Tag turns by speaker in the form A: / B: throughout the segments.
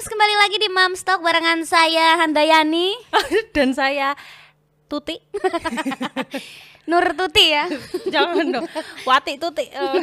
A: kembali lagi di Mamstock barengan saya Handayani
B: dan saya Tuti
A: Nur Tuti ya.
B: jangan dong Wati Tuti Eh,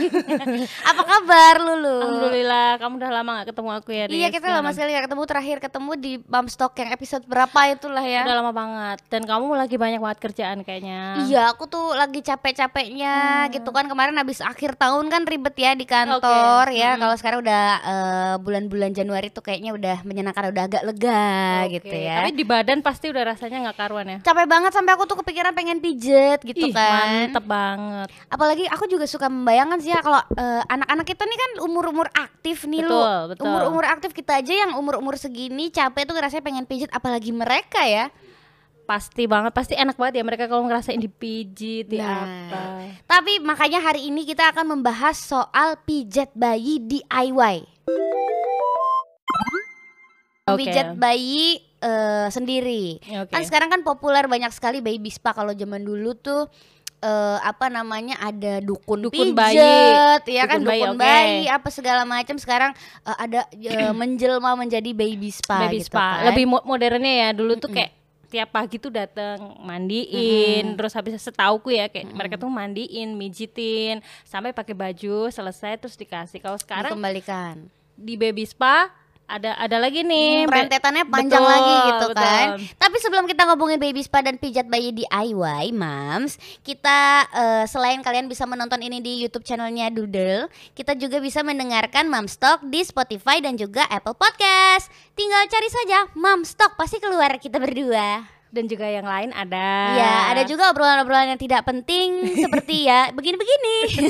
A: Apa kabar Lulu?
B: Alhamdulillah kamu udah lama gak ketemu aku ya Riz.
A: Iya kita lama sekali gak ketemu terakhir ketemu di Mamstock yang episode berapa itulah ya.
B: udah lama banget dan kamu lagi banyak banget kerjaan kayaknya
A: Iya, aku tuh lagi capek-capeknya
B: Hmm.
A: gitu kan kemarin habis akhir tahun kan ribet ya di kantor
B: Hmm.
A: ya. Kalau sekarang udah eh, bulan-bulan Januari tuh kayaknya udah menyenangkan, udah agak lega
B: Oke,
A: gitu ya.
B: tapi di badan pasti udah rasanya nggak karuan ya
A: capek banget sampai aku tuh kepikiran pengen pijet gitu
B: Ih,
A: kan.
B: mantep banget
A: Apalagi aku juga suka membayangkan sih ya kalau eh, anak-anak kita nih kan umur-umur aktif nih lu.
B: Betul, betul.
A: Umur-umur aktif kita aja yang umur-umur segini capek tuh rasanya pengen pijet apalagi mereka ya.
B: pasti banget pasti enak banget ya mereka kalau ngerasain dipijit di
A: Nah.
B: apa
A: Tapi makanya hari ini kita akan membahas soal pijet bayi DIY.
B: Oke.
A: Pijet bayi eh, sendiri.
B: Oke.
A: Kan sekarang kan populer banyak sekali baby spa kalau zaman dulu tuh eh, apa namanya ada dukun, pijet,
B: Dukun bayi.
A: ya kan
B: Dukun bayi,
A: dukun
B: oke.
A: bayi apa segala macam sekarang eh, ada eh, menjelma menjadi baby spa
B: baby
A: gitu
B: spa
A: kan.
B: lebih mo- modernnya ya dulu tuh kayak tiap pagi tuh dateng mandiin terus habis setauku ya kayak mereka tuh mandiin mijitin sampai pakai baju selesai terus dikasih kalau sekarang
A: dikembalikan.
B: di baby spa ada ada lagi
A: Hmm,
B: nih be-
A: rentetannya panjang
B: Betul,
A: lagi gitu
B: betul.
A: kan. Tapi sebelum kita ngomongin baby spa dan pijat bayi DIY, Mams, kita eh, selain kalian bisa menonton ini di YouTube channelnya Doodle, kita juga bisa mendengarkan Mams Talk di Spotify dan juga Apple Podcast. Tinggal cari saja Mams Talk pasti keluar kita berdua.
B: dan juga yang lain ada
A: Ya, ada juga obrolan-obrolan yang tidak penting seperti ya begini-begini.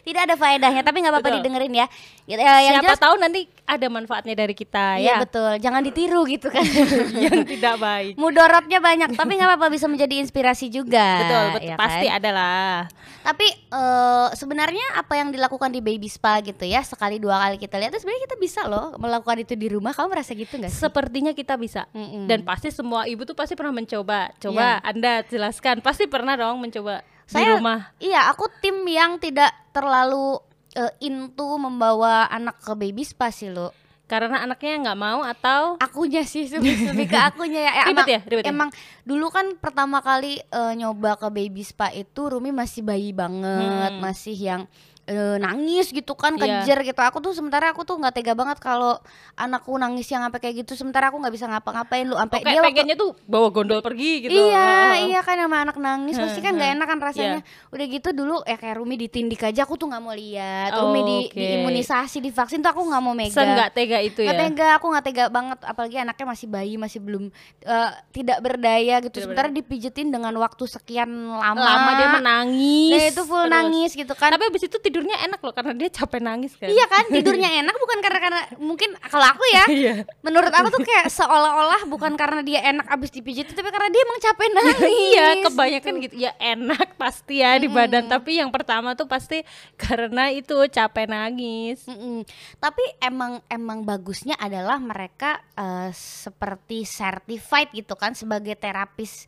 A: tidak ada faedahnya, tapi nggak apa-apa
B: Betul.
A: didengerin ya. Gitu, eh, Yang
B: siapa
A: jelas,
B: tahu nanti ada manfaatnya dari kita
A: iya
B: ya
A: betul. Jangan ditiru gitu kan.
B: yang tidak baik
A: mudorotnya banyak tapi nggak apa-apa bisa menjadi inspirasi juga
B: betul betul
A: ya kan?
B: pasti ada lah
A: tapi eh, sebenarnya apa yang dilakukan di baby spa gitu ya sekali dua kali kita lihat itu sebenarnya kita bisa loh melakukan itu di rumah kamu merasa gitu nggak sih
B: Sepertinya kita bisa
A: Mm-mm.
B: dan pasti semua ibu tuh pasti pernah mencoba.
A: Iya.
B: Coba Anda jelaskan, pasti pernah dong mencoba di rumah.
A: iya aku tim yang tidak terlalu eh, into membawa anak ke baby spa sih lo
B: Karena anaknya nggak mau atau
A: akunya sih lebih, lebih ke akunya ya,
B: Ribet
A: emang,
B: ya, ribet ya?
A: emang dulu kan pertama kali eh, nyoba ke baby spa itu Rumi masih bayi banget
B: Hmm.
A: masih yang eh, nangis gitu kan
B: Iya.
A: kejer gitu aku tuh sementara aku tuh nggak tega banget kalau anakku nangis yang sampai kayak gitu sementara aku nggak bisa ngapa-ngapain lu sampai
B: kayak gitu?
A: dia waktu
B: pengennya tuh bawa gondol pergi gitu.
A: Iya,
B: Oh, oh.
A: iya kan sama anak nangis pasti kan nggak enak kan rasanya.
B: Hmm, Iya.
A: Udah gitu dulu ya kayak Rumi ditindik aja aku tuh nggak mau lihat.
B: Oh,
A: Rumi di,
B: oke.
A: diimunisasi, divaksin tuh aku nggak mau megang.
B: Seenggak tega itu ya.
A: Nggak tega, aku nggak tega banget apalagi anaknya masih bayi, masih belum eh, tidak berdaya gitu.
B: Tidak
A: Sementara dipijetin dengan waktu sekian lama.
B: Lama dia menangis.
A: Nah, itu full
B: Terus.
A: nangis gitu kan.
B: Tapi abis itu tidurnya enak loh karena dia capek nangis kan.
A: Iya kan tidurnya enak bukan karena karena mungkin kalau aku ya
B: Iya.
A: menurut aku tuh kayak seolah-olah bukan karena dia enak abis dipijetin tapi karena dia emang capek nangis.
B: Iya, kebanyakan gitu. Ya enak pasti ya di badan, tapi yang pertama tuh pasti karena itu capek nangis.
A: Mm-mm. Tapi emang emang bagusnya adalah mereka eh, seperti certified gitu kan sebagai terapis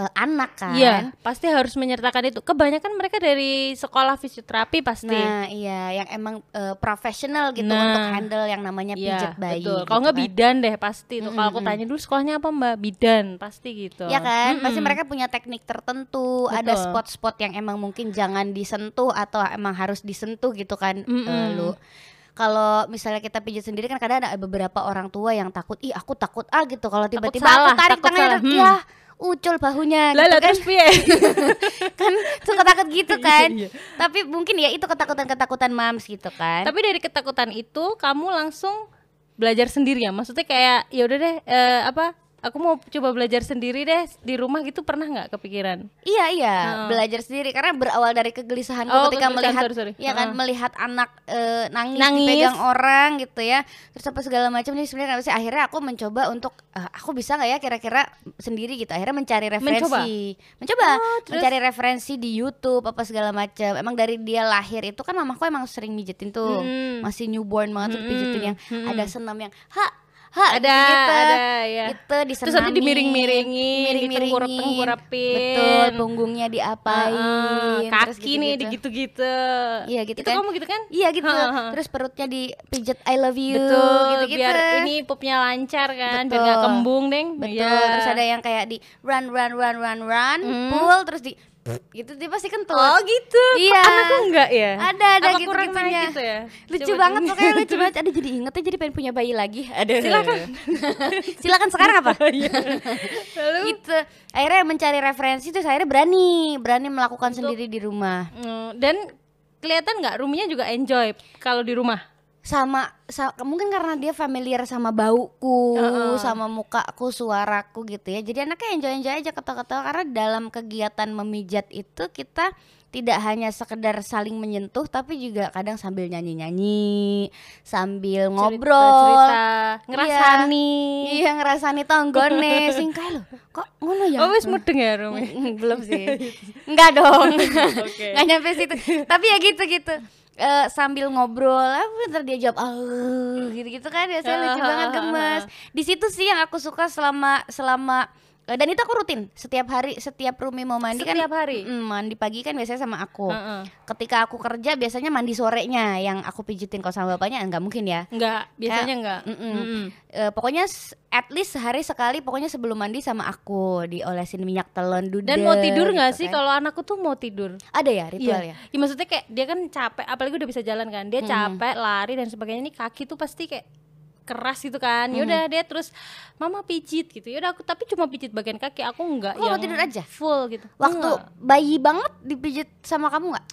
A: eh, anak kan.
B: Iya, pasti harus menyertakan itu. Kebanyakan mereka dari sekolah fisioterapi pasti.
A: Nah, iya yang emang eh, profesional gitu
B: Nah.
A: untuk handle yang namanya pijat bayi.
B: Iya, betul.
A: gitu
B: Kalau nggak
A: kan.
B: bidan deh pasti tuh. Kalau aku
A: Mm-mm.
B: tanya dulu sekolahnya apa Mbak? Bidan pasti gitu.
A: Ya kan,
B: Mm-mm.
A: pasti mereka punya teknik tertentu, ada
B: Betul.
A: spot-spot yang emang mungkin jangan disentuh atau emang harus disentuh gitu kan
B: Mm-mm.
A: eh, lu. Kalau misalnya kita pijat sendiri kan kadang ada beberapa orang tua yang takut, ih aku takut ah gitu. Kalau tiba-tiba
B: salah,
A: aku tarik
B: takut
A: tangannya,
B: salah, hmm.
A: ya ucul bahunya
B: Lah,
A: gitu
B: lah,
A: kan,
B: terus piye?
A: kan suka takut gitu kan.
B: Iya.
A: Tapi mungkin ya itu ketakutan-ketakutan mams gitu kan.
B: Tapi dari ketakutan itu kamu langsung belajar sendiri ya. Maksudnya kayak ya udah deh eh, apa? Aku mau coba belajar sendiri deh di rumah gitu pernah nggak kepikiran?
A: Iya iya
B: Heeh.
A: belajar sendiri karena berawal dari kegelisahan
B: Oh,
A: ketika
B: kegelisahan,
A: melihat
B: sorry, sorry.
A: ya kan
B: Heeh.
A: melihat anak eh, nangis,
B: Nangis.
A: dipegang orang gitu ya terus apa segala macam nih sebenarnya kenapa sih? akhirnya aku mencoba untuk eh, aku bisa nggak ya kira-kira sendiri gitu akhirnya mencari referensi mencoba,
B: Oh, terus?
A: mencari referensi di YouTube apa segala macam emang dari dia lahir itu kan mamahku emang sering mijitin tuh
B: Mm.
A: masih newborn banget tuh
B: Mm-mm.
A: pijitin yang
B: Mm-mm.
A: ada senam yang ha ha,
B: ada
A: gitu,
B: ada ya
A: gitu disenamin
B: terus nanti dimiring-miringin ditengkurap
A: miring-miringin
B: tengkurapin
A: betul punggungnya diapain terus
B: kaki nih
A: gitu-gitu.
B: digitu-gitu
A: Iya, gitu
B: itu
A: kan.
B: kamu gitu kan
A: iya gitu
B: Ha, ha.
A: terus perutnya dipijet I love you
B: betul gitu,
A: gitu-gitu.
B: biar ini pupnya lancar kan biar
A: Betul.
B: nggak kembung deng
A: betul
B: Iya.
A: terus ada yang kayak di run run run run run
B: Hmm.
A: pull terus di gitu dia pasti kentut
B: oh gitu Kok
A: Iya.
B: anakku enggak ya
A: Ada, ada
B: Apa kurang
A: gitu-gitunya.
B: naik gitu ya
A: lucu
B: Coba
A: banget
B: dong.
A: pokoknya lucu banget ada jadi inget ya jadi pengen punya bayi lagi ada
B: Silakan.
A: silakan sekarang apa
B: Iya. lalu
A: gitu akhirnya mencari referensi terus akhirnya berani berani melakukan sendiri di rumah
B: mm, dan kelihatan nggak roomnya juga enjoy kalau di rumah
A: sama, sa- mungkin karena dia familiar sama bauku
B: Heeh.
A: sama mukaku suaraku gitu ya jadi anaknya enjoy enjoy aja ketawa-ketawa karena dalam kegiatan memijat itu kita tidak hanya sekedar saling menyentuh tapi juga kadang sambil nyanyi-nyanyi sambil ngobrol
B: cerita ngerasani
A: Iya ngerasani tonggone sing kae lho. Kok ngono ya?
B: oh wis mudeng ya roomnya
A: Mm, Belum sih. Enggak dong.
B: Oke.
A: Enggak nyampe situ. Tapi ya gitu-gitu. Eh, sambil ngobrol, apa ntar dia jawab "Auh," gitu-gitu kan ya saya lucu banget
B: Ah,
A: gemes. Di situ sih yang aku suka selama selama eh, dan itu aku rutin setiap hari setiap Rumi mau mandi kan
B: Setiap Ah. hari?
A: Mm, mandi pagi kan biasanya sama aku.
B: Heeh.
A: Ketika aku kerja biasanya mandi sorenya yang aku pijitin kalau sama bapaknya enggak mungkin ya.
B: Enggak, biasanya
A: Kayak-
B: enggak.
A: Mm-mm.
B: Mm-mm.
A: Eh, pokoknya s- at least sehari sekali pokoknya sebelum mandi sama aku diolesin minyak telon dudel
B: Dan mau tidur nggak
A: gitu
B: sih
A: kan.
B: kalau anakku tuh mau tidur?
A: ada ya ritual ya
B: Ya, maksudnya kayak dia kan capek, apalagi udah bisa jalan kan. Dia capek, lari dan sebagainya. Ini kaki tuh pasti kayak keras gitu kan. Yaudah dia terus mama pijit gitu. Yaudah aku tapi cuma pijit bagian kaki. Aku enggak
A: Kok mau
B: yang
A: tidur aja?
B: full gitu.
A: waktu
B: Enggak.
A: bayi banget dipijit sama kamu nggak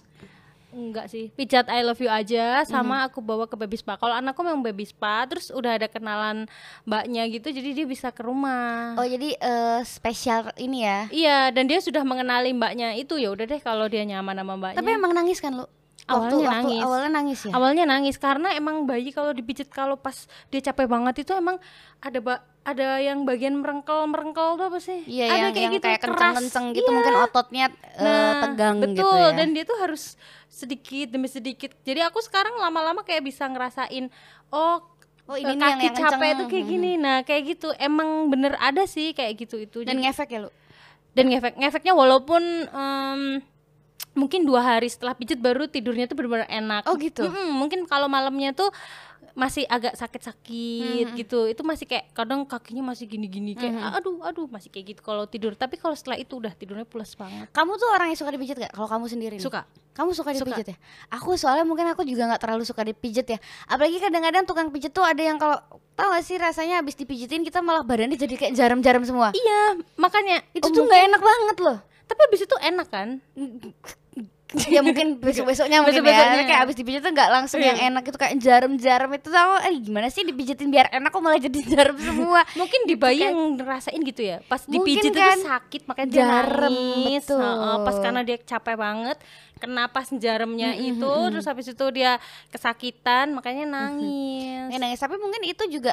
B: Enggak sih, pijat I love you aja sama aku bawa ke baby spa. Kalau anakku memang baby spa, terus udah ada kenalan mbaknya gitu, jadi dia bisa ke rumah.
A: oh jadi eh, spesial ini ya
B: Iya, dan dia sudah mengenali mbaknya itu ya udah deh kalau dia nyaman sama mbaknya.
A: tapi emang nangis kan lu waktu,
B: Awalnya
A: waktu
B: nangis.
A: awalnya nangis ya
B: awalnya nangis karena emang bayi kalau dipijit kalau pas dia capek banget itu emang ada ba- ada yang bagian merengkel merengkel tuh apa sih?
A: iya
B: ada gitu,
A: yang kayak, yang kayak
B: keras.
A: kenceng-kenceng gitu
B: Iya.
A: mungkin ototnya eh,
B: Nah,
A: tegang
B: betul,
A: gitu ya
B: dan dia tuh harus sedikit demi sedikit. Jadi aku sekarang lama-lama kayak bisa ngerasain oh
A: Oh, ini nih yang-
B: kaki
A: yang
B: capek
A: kenceng. Hmm.
B: tuh kayak gini. Nah, kayak gitu. Emang bener ada sih kayak gitu itu.
A: dan
B: Jadi-
A: ngefek ya lu
B: dan ngefek ngefeknya walaupun em, mungkin dua hari setelah pijit baru tidurnya tuh benar-benar enak
A: Oh, gitu?
B: Mm-mm, mungkin kalau malamnya tuh masih agak sakit-sakit
A: Mm-hmm.
B: gitu itu masih kayak kadang kakinya masih gini-gini kayak aduh aduh masih kayak gitu kalau tidur tapi kalau setelah itu udah tidurnya pulas banget
A: kamu tuh orang yang suka dipijit gak kalau kamu sendiri nih?
B: suka
A: Kamu suka
B: Suka.
A: dipijit ya? Aku soalnya mungkin aku juga nggak terlalu suka dipijit ya. Apalagi kadang-kadang tukang pijit tuh ada yang kalau tau gak sih rasanya habis dipijitin kita malah badannya jadi kayak jarum-jarum semua.
B: iya makanya
A: Itu
B: Oh,
A: tuh
B: mungkin-
A: nggak enak banget loh.
B: tapi abis itu enak kan
A: ya mungkin besok-besoknya mungkin ya. Iya.
B: Besok-besoknya.
A: Tapi Kayak habis dipijit tuh nggak langsung yang enak itu kayak jarum-jarum itu tau eh, gimana sih dipijitin biar enak kok malah jadi jarum semua.
B: mungkin di bayi yang ngerasain gitu ya pas
A: Mungkin
B: dipijit
A: kan.
B: itu sakit makanya dia
A: Jarem,
B: nangis
A: betul.
B: Heeh, pas karena dia capek banget kena pas jaremnya itu terus habis itu dia kesakitan makanya nangis
A: Ya, nangis tapi mungkin itu juga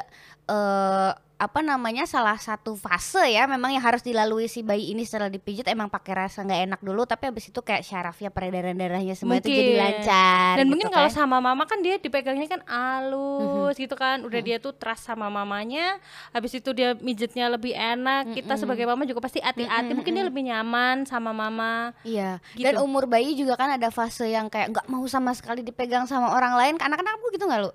A: eh apa namanya salah satu fase ya memang yang harus dilalui si bayi ini setelah dipijit emang pakai rasa nggak enak dulu tapi abis itu kayak syarafnya peredaran darahnya semua itu jadi
B: Mungkin.
A: lancar
B: dan
A: gitu
B: mungkin kalau
A: kan.
B: sama mama kan dia dipegangnya kan halus gitu kan udah dia tuh trust sama mamanya habis itu dia mijetnya lebih enak kita sebagai mama juga pasti hati-hati mungkin dia lebih nyaman sama mama
A: iya
B: gitu.
A: dan umur bayi juga kan ada fase yang kayak nggak mau sama sekali dipegang sama orang lain anak-anak aku gitu nggak lu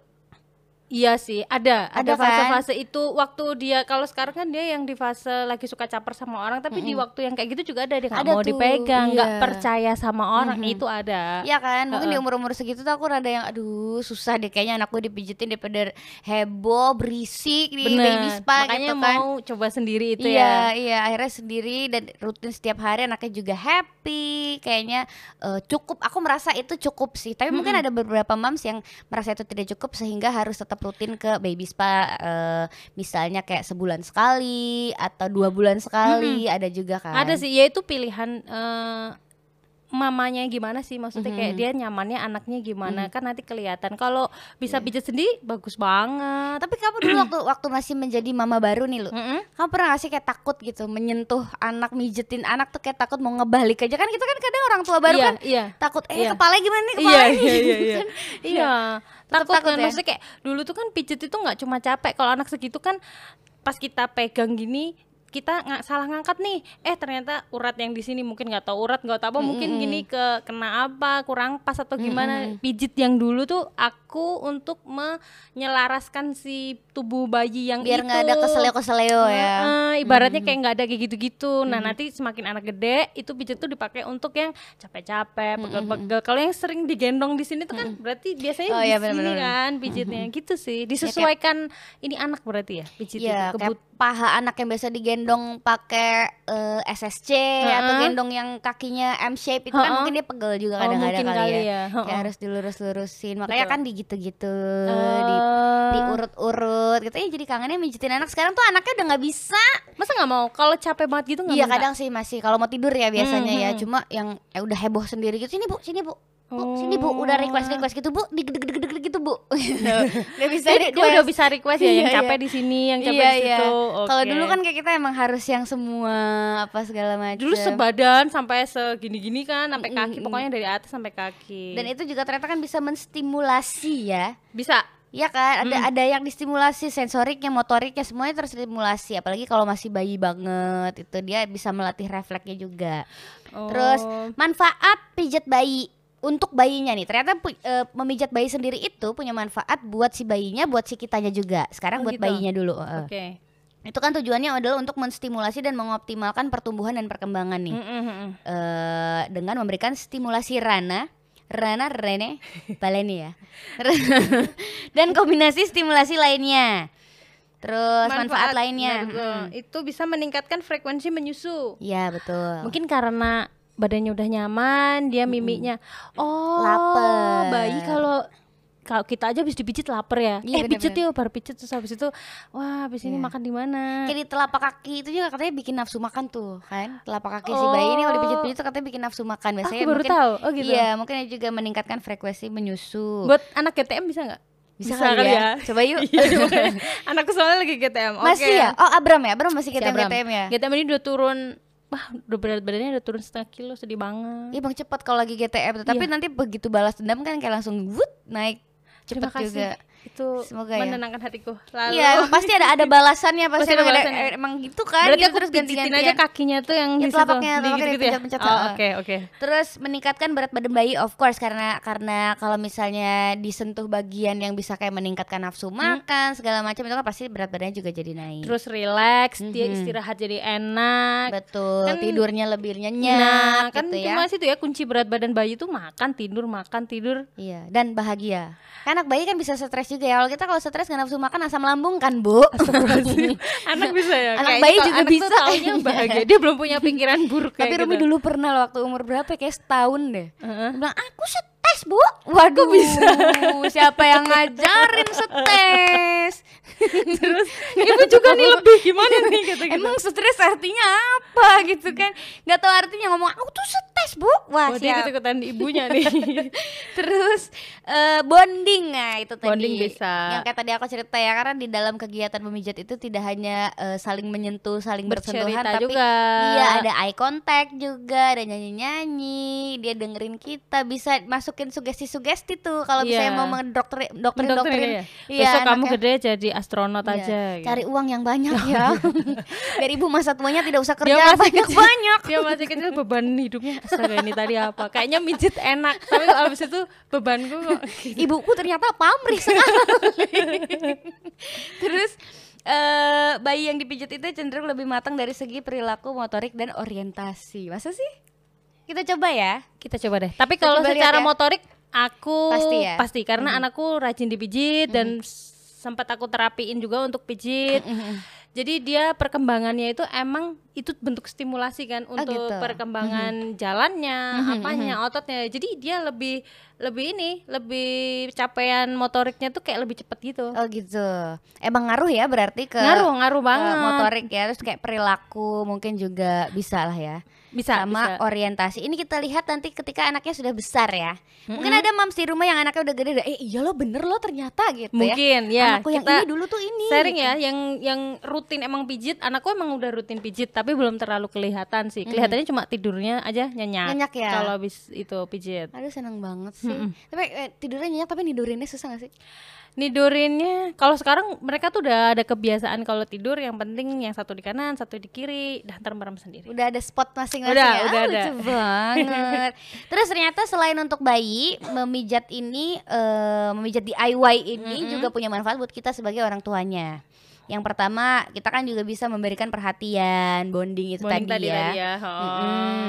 B: Iya sih, ada
A: Ada
B: ada
A: kan?
B: fase-fase itu waktu dia kalau sekarang kan dia yang di fase lagi suka caper sama orang, tapi di waktu yang kayak gitu juga ada dia nggak
A: Ada
B: mau
A: tuh,
B: dipegang, nggak
A: iya.
B: percaya sama orang itu ada.
A: Iya kan, mungkin di umur-umur segitu tuh aku rada yang aduh susah deh kayaknya anak gue dipijitin daripada heboh, berisik di baby
B: Bener.
A: spa
B: Makanya
A: gitu kan.
B: mau coba sendiri itu
A: iya,
B: ya.
A: iya, akhirnya sendiri dan rutin setiap hari anaknya juga happy. Kayaknya eh, cukup. Aku merasa itu cukup sih. Tapi mungkin ada beberapa moms yang merasa itu tidak cukup sehingga harus tetap rutin ke baby spa eh, misalnya kayak sebulan sekali atau dua bulan sekali, ada juga kan.
B: Ada sih, ya itu pilihan eh, mamanya gimana sih maksudnya kayak dia nyamannya anaknya gimana
A: Mm.
B: kan nanti kelihatan kalau bisa
A: Iya.
B: pijat sendiri bagus banget
A: Tapi kamu dulu waktu waktu masih menjadi mama baru nih lu.
B: Mm-mm.
A: Kamu pernah gak sih kayak takut gitu menyentuh anak, mijetin anak tuh kayak takut mau ngebalik aja kan kita kan kadang orang tua baru
B: Iya,
A: kan
B: iya.
A: takut eh
B: Iya.
A: kepala gimana nih
B: Iya,
A: kepala
B: iya, iya, iya.
A: iya.
B: Iya, takut,
A: takut
B: kan
A: ya?
B: maksudnya kayak dulu tuh kan pijet itu nggak cuma capek. Kalau anak segitu kan pas kita pegang gini kita nggak salah ngangkat nih. Eh ternyata urat yang di sini mungkin nggak tahu urat nggak tahu apa mungkin gini ke kena apa kurang pas atau gimana. Pijit yang dulu tuh aku untuk menyelaraskan si tubuh bayi yang
A: Biar
B: itu.
A: nggak ada keseleo-keseleo ya.
B: Gitu.
A: Hmm.
B: Heeh, ibaratnya kayak nggak ada kayak gitu-gitu. Nah nanti semakin anak gede itu pijet tuh dipakai untuk yang
A: Hmm,
B: capek-capek, pegel-pegel. Kalau yang sering digendong di sini tuh kan berarti biasanya
A: Oh,
B: di
A: iya,
B: sini
A: bener-bener. hmm.
B: kan pijitnya gitu sih. Disesuaikan ini anak berarti ya pijit
A: Iya,
B: itu
A: kayak
B: kebut.
A: paha anak yang biasa digendong pakai eh, SSC atau
B: Heeh.
A: gendong yang kakinya M shape itu kan
B: Heeh.
A: mungkin dia pegel juga
B: Oh,
A: kadang-kadang
B: mungkin
A: kali,
B: kali
A: ya.
B: ya. Heeh.
A: Kayak harus dilurus-lurusin. Makanya
B: Betul.
A: kan digitu-gitu, di diurut-urut gitu ya jadi kangennya mijitin anak sekarang tuh anaknya udah nggak bisa
B: Masa nggak mau? Kalau capek banget gitu nggak
A: iya
B: minta?
A: kadang sih masih kalau mau tidur ya biasanya
B: Hmm,
A: ya
B: hmm.
A: cuma yang eh, udah heboh sendiri gitu sini bu sini bu Bu, sini bu,
B: Oh.
A: udah request request gitu bu, digedeg-gedeg gitu bu. Udah bisa
B: Jadi dia udah
A: request.
B: bisa request ya yang
A: Iya,
B: capek di sini, yang capek
A: Iya,
B: di
A: iya.
B: situ.
A: Kalau
B: Oke.
A: dulu kan kayak kita emang harus yang semua apa segala macam.
B: dulu sebadan sampai segini-gini kan sampai kaki pokoknya dari atas sampai kaki
A: Hmm, dan itu juga ternyata kan bisa menstimulasi ya.
B: bisa
A: Iya kan, ada ada yang distimulasi sensoriknya, motoriknya semuanya terstimulasi. Apalagi kalau masih bayi banget itu dia bisa melatih refleksnya juga. Terus
B: Oh.
A: manfaat pijat bayi untuk bayinya nih. Ternyata pu- eh, memijat bayi sendiri itu punya manfaat buat si bayinya, buat si kitanya juga. Sekarang
B: Oh,
A: buat
B: gitu.
A: bayinya dulu. heeh.
B: oke
A: Itu kan tujuannya adalah untuk menstimulasi dan mengoptimalkan pertumbuhan dan perkembangan nih.
B: Mm, mm, mm.
A: eh dengan memberikan stimulasi rana Rana Rene Baleni ya dan kombinasi stimulasi lainnya terus manfaat, lainnya
B: benar, nah, betul. itu bisa meningkatkan frekuensi menyusu
A: ya betul
B: mungkin karena badannya udah nyaman dia miminya oh
A: Laper.
B: bayi kalau kalau kita aja habis dipijit lapar ya
A: Iya,
B: eh pijit
A: benar-benar.
B: yuk baru pijit terus habis itu wah habis ini
A: Iya.
B: makan di mana
A: kayak di telapak kaki itu juga katanya bikin nafsu makan tuh kan telapak kaki si bayi ini kalau
B: Oh.
A: dipijit-pijit tuh katanya bikin nafsu makan biasanya
B: aku baru
A: mungkin
B: tahu oh gitu
A: iya mungkin juga meningkatkan frekuensi menyusu
B: buat anak GTM bisa nggak
A: bisa, kali ya. coba yuk
B: Iya, makanya. anakku soalnya lagi GTM oke
A: masih ya oh Abram ya Abram masih
B: Si
A: GTM
B: Abram. Iya.
A: GTM ya
B: GTM ini udah turun wah udah berat badannya udah turun setengah kilo sedih
A: Iya
B: banget
A: bang cepat kalau lagi GTM tuh.
B: Iya.
A: tapi nanti begitu balas dendam kan kayak langsung wut naik
B: Terima
A: cepet
B: kasih.
A: juga.
B: Itu
A: Semoga ya.
B: menenangkan hatiku. Lalu
A: Iya emang pasti ada ada balasannya pasti,
B: Pasti ada
A: emang ada-
B: balasannya.
A: emang gitu kan.
B: berarti
A: gitu
B: aku terus pijitin aja kakinya tuh yang
A: Ya,
B: di situ.
A: telapaknya- telapaknya
B: Di
A: ah.
B: gitu-gitu ya?
A: dipencet-pencet,
B: Oh,
A: heeh.
B: Oke, oke.
A: Terus meningkatkan berat badan bayi of course karena karena kalau misalnya disentuh bagian yang bisa kayak meningkatkan nafsu makan segala macam itu kan pasti berat badannya juga jadi naik.
B: Hmm. Terus relax, dia
A: Mhm.
B: istirahat jadi enak.
A: Betul,
B: Kan-
A: tidurnya lebih nyenyak
B: Nah, kan
A: gitu ya.
B: cuma situ ya kunci berat badan bayi tuh makan, tidur, makan, tidur.
A: Iya, dan bahagia. Kan anak bayi kan bisa stres juga ya. Kalau kita kalau stres nggak nafsu makan asam lambung kan, Bu.
B: anak bisa ya.
A: Anak
B: Kayaknya
A: bayi
B: kalau
A: juga
B: anak tuh
A: bisa
B: taunya
A: kayaknya.
B: bahagia. Dia belum punya pikiran buruk
A: Tapi
B: kayak
A: Rumi
B: gitu.
A: dulu pernah loh waktu umur berapa ya, kayak setahun deh.
B: Heeh.
A: Dia bilang aku setes bu. Waduh bisa. Siapa yang ngajarin setes?
B: Terus ibu juga nih lebih gimana nih kata gitu.
A: Emang stres artinya apa gitu kan? Gak tahu artinya ngomong aku tuh setes bu. Wah
B: Wah, "Oh,
A: siap.
B: dia ikut-ikutan ibunya nih.
A: Terus eh, bonding nah itu tadi.
B: Bonding bisa.
A: Yang kayak tadi aku cerita ya karena di dalam kegiatan memijat itu tidak hanya eh, saling menyentuh, saling bersentuhan,
B: Bercerita
A: tapi
B: juga.
A: Iya ada eye contact juga, ada nyanyi-nyanyi, dia dengerin kita bisa masukin sugesti-sugesti tuh kalau
B: Iya.
A: misalnya mau mendokterin dokterin
B: Mendokterin
A: dokterin. Iya,
B: ya. Besok kamu
A: anaknya.
B: gede jadi astronot
A: Iya,
B: aja. gitu.
A: Cari uang yang banyak ya. Biar ibu masa tuanya tidak usah kerja
B: Dia masih
A: banyak-banyak.
B: Dia masih kecil beban hidupnya astaga ini tadi apa? Kayaknya mijit enak, tapi kok abis itu bebanku kok.
A: Ibuku ternyata pamrih sekali. Terus eh bayi yang dipijat itu cenderung lebih matang dari segi perilaku motorik dan orientasi. Masa sih? Kita coba ya.
B: Kita coba deh. Tapi kalau
A: coba lihat
B: secara
A: ya.
B: motorik aku
A: Pasti ya?
B: karena anakku rajin dipijit dan s- sempat aku terapiin juga untuk pijit. Jadi dia perkembangannya itu emang itu bentuk stimulasi kan untuk
A: gitu.
B: perkembangan jalannya,
A: Mhm,
B: apanya, ototnya. Jadi dia lebih lebih ini, lebih capaian motoriknya tuh kayak lebih cepet gitu.
A: Oh gitu. Emang ngaruh ya berarti ke
B: ngaruh, ngaruh
A: ke
B: banget.
A: motorik ya, terus kayak perilaku mungkin juga bisa lah ya.
B: bisa
A: sama
B: bisa.
A: orientasi. Ini kita lihat nanti ketika anaknya sudah besar ya. Mungkin ada moms di rumah yang anaknya udah gede, udah, eh iya lo bener lo ternyata gitu ya.
B: Mungkin ya.
A: Anakku yang
B: kita
A: ini dulu tuh ini.
B: sharing
A: gitu.
B: ya yang yang rutin emang pijit anakku emang udah rutin pijit tapi belum terlalu kelihatan sih kelihatannya cuma tidurnya aja nyenyak,
A: Mhm. Nyenyak ya.
B: kalau habis itu pijit
A: Aduh seneng banget sih. Tapi eh, tidurnya nyenyak tapi nidurinnya susah gak sih?
B: nidurinnya kalau sekarang mereka tuh udah ada kebiasaan kalau tidur yang penting yang satu di kanan satu di kiri dan termerem sendiri
A: Udah ada spot masing-masing
B: Udah,
A: ya.
B: udah
A: Ah,
B: ada.
A: lucu banget. Terus ternyata selain untuk bayi, memijat ini eh, memijat DIY ini juga punya manfaat buat kita sebagai orang tuanya. Yang pertama, kita kan juga bisa memberikan perhatian, bonding itu
B: Bonding
A: tadi, ya.
B: ho. Oh.
A: Mm-mm.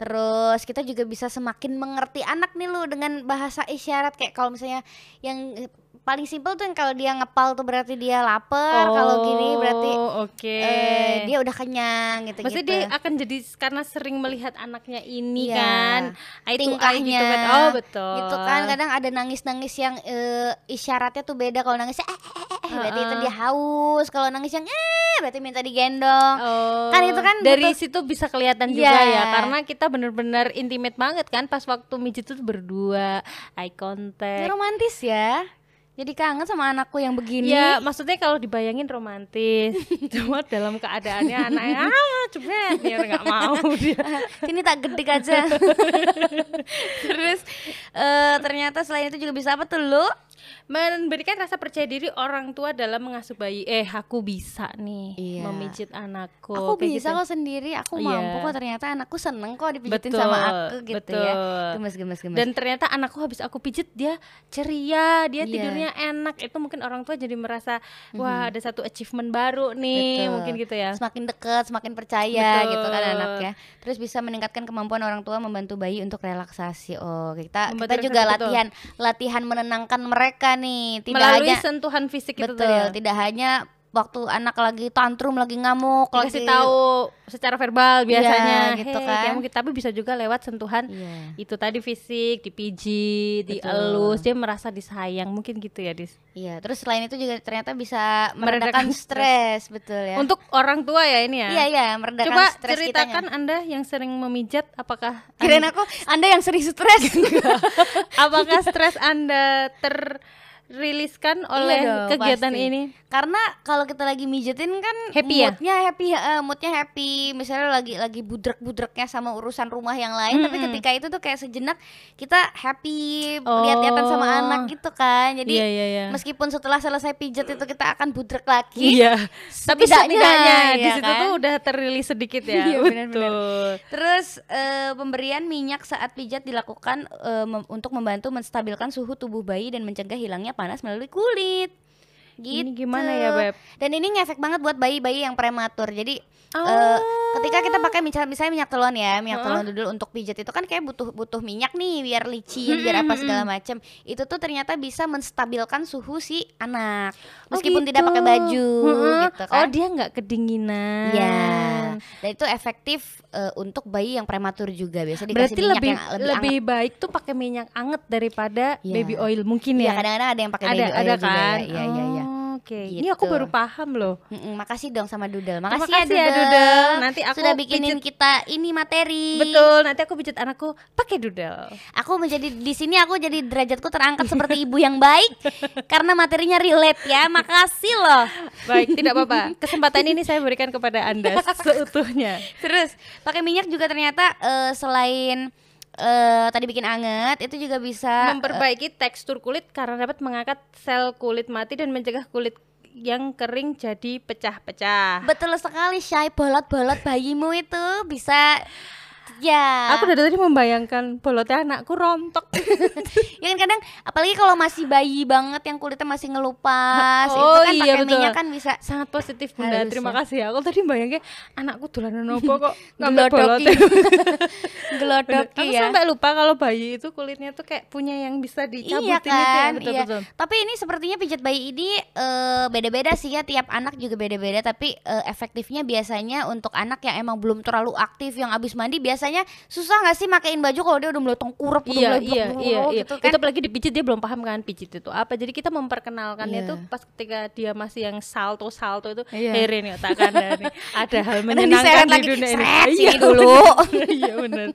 A: Terus kita juga bisa semakin mengerti anak nih lu dengan bahasa isyarat kayak kalau misalnya yang eh, paling simpel tuh yang kalau dia ngepal tuh berarti dia lapar, kalau gini berarti
B: Oh, oke
A: eh, dia udah kenyang gitu gitu.
B: Maksudnya dia akan jadi karena sering melihat anaknya ini
A: Iya.
B: kan, eye to eye gitu
A: Tingkahnya,
B: kan. Oh betul.
A: Gitu kan kadang ada nangis-nangis yang eh, isyaratnya tuh beda kalau nangisnya eh, eh, eh, eh, berarti itu dia haus, kalau nangis yang eh berarti minta digendong.
B: Oh,
A: Kan itu kan
B: dari
A: butuh-
B: situ bisa kelihatan
A: Iya.
B: juga ya karena kita bener-bener intimate banget kan pas waktu mijit itu berdua eye
A: Ini
B: contact
A: romantis ya. Jadi kangen sama anakku yang begini.
B: ya maksudnya kalau dibayangin romantis cuma dalam keadaannya anaknya ah jebret ya nggak mau dia
A: sini tak gedik aja terus eh, ternyata selain itu juga bisa apa tuh lu
B: memberikan rasa percaya diri orang tua dalam mengasuh bayi eh aku bisa nih
A: Iya.
B: memijit anakku
A: aku
B: Kayak
A: bisa
B: gitu.
A: kok sendiri aku
B: Iya.
A: mampu kok ternyata anakku seneng kok dipijitin sama
B: Betul,
A: aku gitu ya
B: betul.
A: gemes gemes gemes
B: dan ternyata anakku habis aku pijit dia ceria
A: Iya.
B: dia
A: Mhm.
B: tidurnya enak itu mungkin orang tua jadi merasa wah ada satu achievement baru nih
A: Betul.
B: mungkin gitu ya
A: semakin dekat semakin percaya
B: Betul.
A: gitu kan anaknya terus bisa meningkatkan kemampuan orang tua membantu bayi untuk relaksasi oh kita
B: Membantu
A: kita juga
B: relaksasi, betul.
A: latihan latihan menenangkan mereka nih tidak
B: melalui
A: hanya
B: sentuhan fisik itu
A: betul
B: tadi ya
A: tidak hanya waktu anak lagi tantrum lagi ngamuk
B: kasih
A: lagi
B: tahu secara verbal biasanya
A: Iya, gitu
B: "Hei,
A: kan."
B: kamu gitu." tapi bisa juga lewat sentuhan
A: Iya.
B: itu tadi fisik dipijit
A: Betul.
B: dielus dia merasa disayang mungkin gitu ya dis
A: Iya, terus selain itu juga ternyata bisa
B: Meredakan
A: meredakan stres, betul ya.
B: untuk orang tua ya ini ya
A: Iya, iya, meredakan
B: coba
A: stres
B: ceritakan
A: kitanya.
B: anda yang sering memijat apakah
A: Kirain aku Anda yang sering stres.
B: Gitu. Apakah stres Anda terriliskan oleh
A: Iya dong,
B: kegiatan
A: pasti.
B: ini?
A: Karena kalau kita lagi mijetin kan
B: Happy ya?
A: moodnya happy, eh, moodnya happy. Misalnya lagi lagi budrek-budreknya sama urusan rumah yang lain, tapi ketika itu tuh kayak sejenak kita happy
B: Oh.
A: lihat-lihatan sama anak gitu kan. Jadi
B: Iya, iya, iya.
A: meskipun setelah selesai pijet itu kita akan budrek lagi.
B: Iya. Tapi
A: Setidaknya,
B: setidaknya ya di
A: iya
B: situ
A: kan?
B: tuh udah terilis sedikit ya.
A: Iya, benar-benar.
B: Betul.
A: Terus eh, pemberian minyak saat pijat dilakukan eh, mem- untuk membantu menstabilkan suhu tubuh bayi dan mencegah hilangnya panas melalui kulit. Gitu.
B: Ini gimana ya, Beb?
A: Dan ini ngefek banget buat bayi-bayi yang prematur. Jadi eh,
B: Oh.
A: ketika kita pakai misalnya, misalnya minyak telon ya, minyak telon dulu untuk pijat itu kan kayak butuh butuh minyak nih biar licin, biar apa segala macem. Itu tuh ternyata bisa menstabilkan suhu si anak
B: Oh,
A: meskipun tidak
B: gitu.
A: pakai baju
B: Heeh.
A: gitu
B: Oh,
A: kan.
B: dia nggak kedinginan.
A: Ya, dan itu efektif eh, untuk bayi yang prematur juga biasanya dikasih
B: Berarti
A: minyak
B: lebih
A: yang
B: lebih,
A: lebih, anget.
B: baik tuh pakai minyak anget daripada
A: Iya.
B: baby oil mungkin
A: Iya,
B: ya.
A: kadang-kadang ada yang pakai
B: ada
A: baby oil
B: ada
A: juga
B: kan?
A: ya. Iya, iya, iya.
B: Oh, Oke, ini aku
A: Gitu.
B: baru paham loh.
A: Mm-mm, makasih dong sama Dudel.
B: Terima
A: Makasih,
B: kasih
A: ya
B: ya,
A: Dudel.
B: Dudel. Nanti aku
A: sudah bikinin kita ini materi.
B: Betul, nanti aku pijat anakku pakai doodle.
A: Aku menjadi di sini aku jadi derajatku terangkat seperti ibu yang baik karena materinya relate ya. Makasih loh.
B: Baik, tidak apa-apa. Kesempatan ini saya berikan kepada Anda seutuhnya.
A: Terus pakai minyak juga ternyata eh, selain eh, tadi bikin anget itu juga
B: Ah,
A: bisa
B: Memperbaiki tekstur kulit karena dapat mengangkat sel kulit mati dan mencegah kulit yang kering jadi pecah-pecah.
A: Betul sekali Syai, bolot-bolot bayimu itu bisa ya.
B: Ah. Aku dari tadi membayangkan bolotnya anakku rontok.
A: ya kan kadang apalagi kalau masih bayi banget yang kulitnya masih ngelupas itu
B: Oh,
A: kan
B: iya,
A: pakai
B: betul.
A: minyak kan bisa
B: Sangat positif Bunda.
A: Harus,
B: Terima
A: ya.
B: kasih. Aku tadi bayangin anakku dolanan apa kok ngambil
A: gelodoki
B: bolotnya.
A: gelodoki
B: Aku
A: ya
B: sampai lupa kalau bayi itu kulitnya tuh kayak punya yang bisa dicabutin
A: Iya
B: itu ya,
A: kan,
B: betul,
A: iya.
B: betul.
A: Tapi ini sepertinya pijat bayi ini eh, beda-beda sih ya tiap anak juga beda-beda. Tapi eh, efektifnya biasanya untuk anak yang emang belum terlalu aktif, yang abis mandi biasanya susah nggak sih makain baju kalau dia udah melotong kurep, udah
B: Iya,
A: mulai
B: iya,
A: blok-blok
B: iya, iya.
A: gitu
B: Itu
A: kan.
B: apalagi dipijit dia belum paham kan pijit itu apa. Jadi kita memperkenalkannya
A: Iya.
B: tuh pas ketika dia masih yang salto-salto itu
A: Iya.
B: herin ya tak kandani. Ada hal
A: Kadang diseret
B: menyenangkan
A: lagi,
B: di dunia ini.
A: "Seret,
B: Iya,
A: sini dulu."
B: bener. iya benar.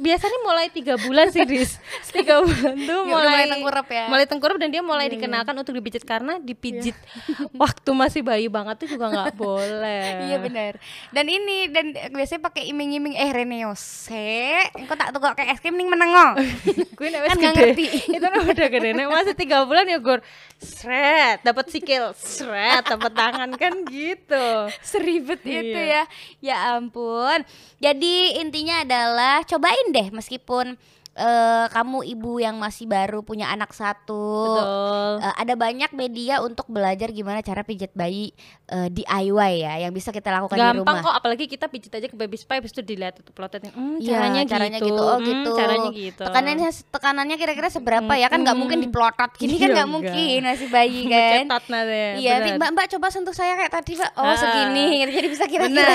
B: biasanya mulai tiga bulan sih Riz tiga bulan
A: Udah
B: tuh
A: mulai
B: mulai
A: tengkurap ya. iya.
B: mulai tengkurap dan dia mulai dikenalkan untuk dipijit karena dipijit waktu masih bayi banget tuh juga nggak boleh
A: Iya benar. Dan ini dan biasanya pakai iming-iming eh Reneo se, engko tak tukok kayak es krim ning menengo.
B: Iya. gue nek wis
A: Kan nggak
B: gede.
A: ngerti.
B: itu nek udah gede nek masih tiga bulan ya gue seret dapat sikil seret dapat tangan kan gitu
A: Seribet itu
B: Iya.
A: ya. Ya ampun. Jadi intinya adalah cobain deh meskipun eh, kamu ibu yang masih baru punya anak satu.
B: betul
A: Eh, ada banyak media untuk belajar gimana cara pijat bayi eh, DIY ya yang bisa kita lakukan di rumah.
B: gampang kok apalagi kita pijit aja ke baby spy habis itu dilihat itu plotetnya hmm,
A: Iya,
B: caranya,
A: caranya
B: gitu,
A: gitu. Oh,
B: Hmm,
A: gitu.
B: caranya gitu
A: Tekanannya tekanannya kira-kira seberapa ya kan nggak
B: Mm-mm.
A: mungkin diplotot gini kan
B: Iya,
A: nggak
B: enggak.
A: mungkin masih bayi kan.
B: Mencetat nanti
A: Iya, nanti
B: ya. benar.
A: Mbak Mbak coba sentuh saya kayak tadi Mbak. Oh
B: Ah.
A: segini, gitu. jadi bisa
B: Benar.
A: kira-kira.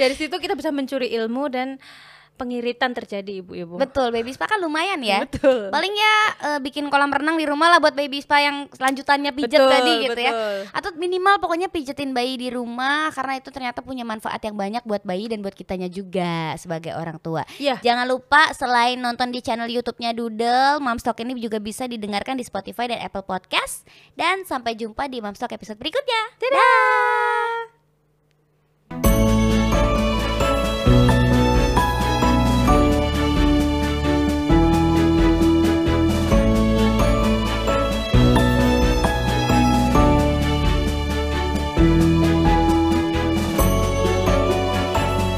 B: dari situ kita bisa mencuri ilmu dan pengiritan terjadi ibu-ibu
A: Betul, baby spa kan lumayan ya.
B: betul
A: Paling ya eh, bikin kolam renang di rumah lah buat baby spa yang lanjutannya pijat
B: Betul,
A: tadi gitu ya.
B: betul.
A: Atau minimal pokoknya pijetin bayi di rumah karena itu ternyata punya manfaat yang banyak buat bayi dan buat kitanya juga sebagai orang tua.
B: Iya.
A: Jangan lupa selain nonton di channel YouTube-nya Doodle, Momstock ini juga bisa didengarkan di Spotify dan Apple Podcast. Dan sampai jumpa di Momstock episode berikutnya. Dadah.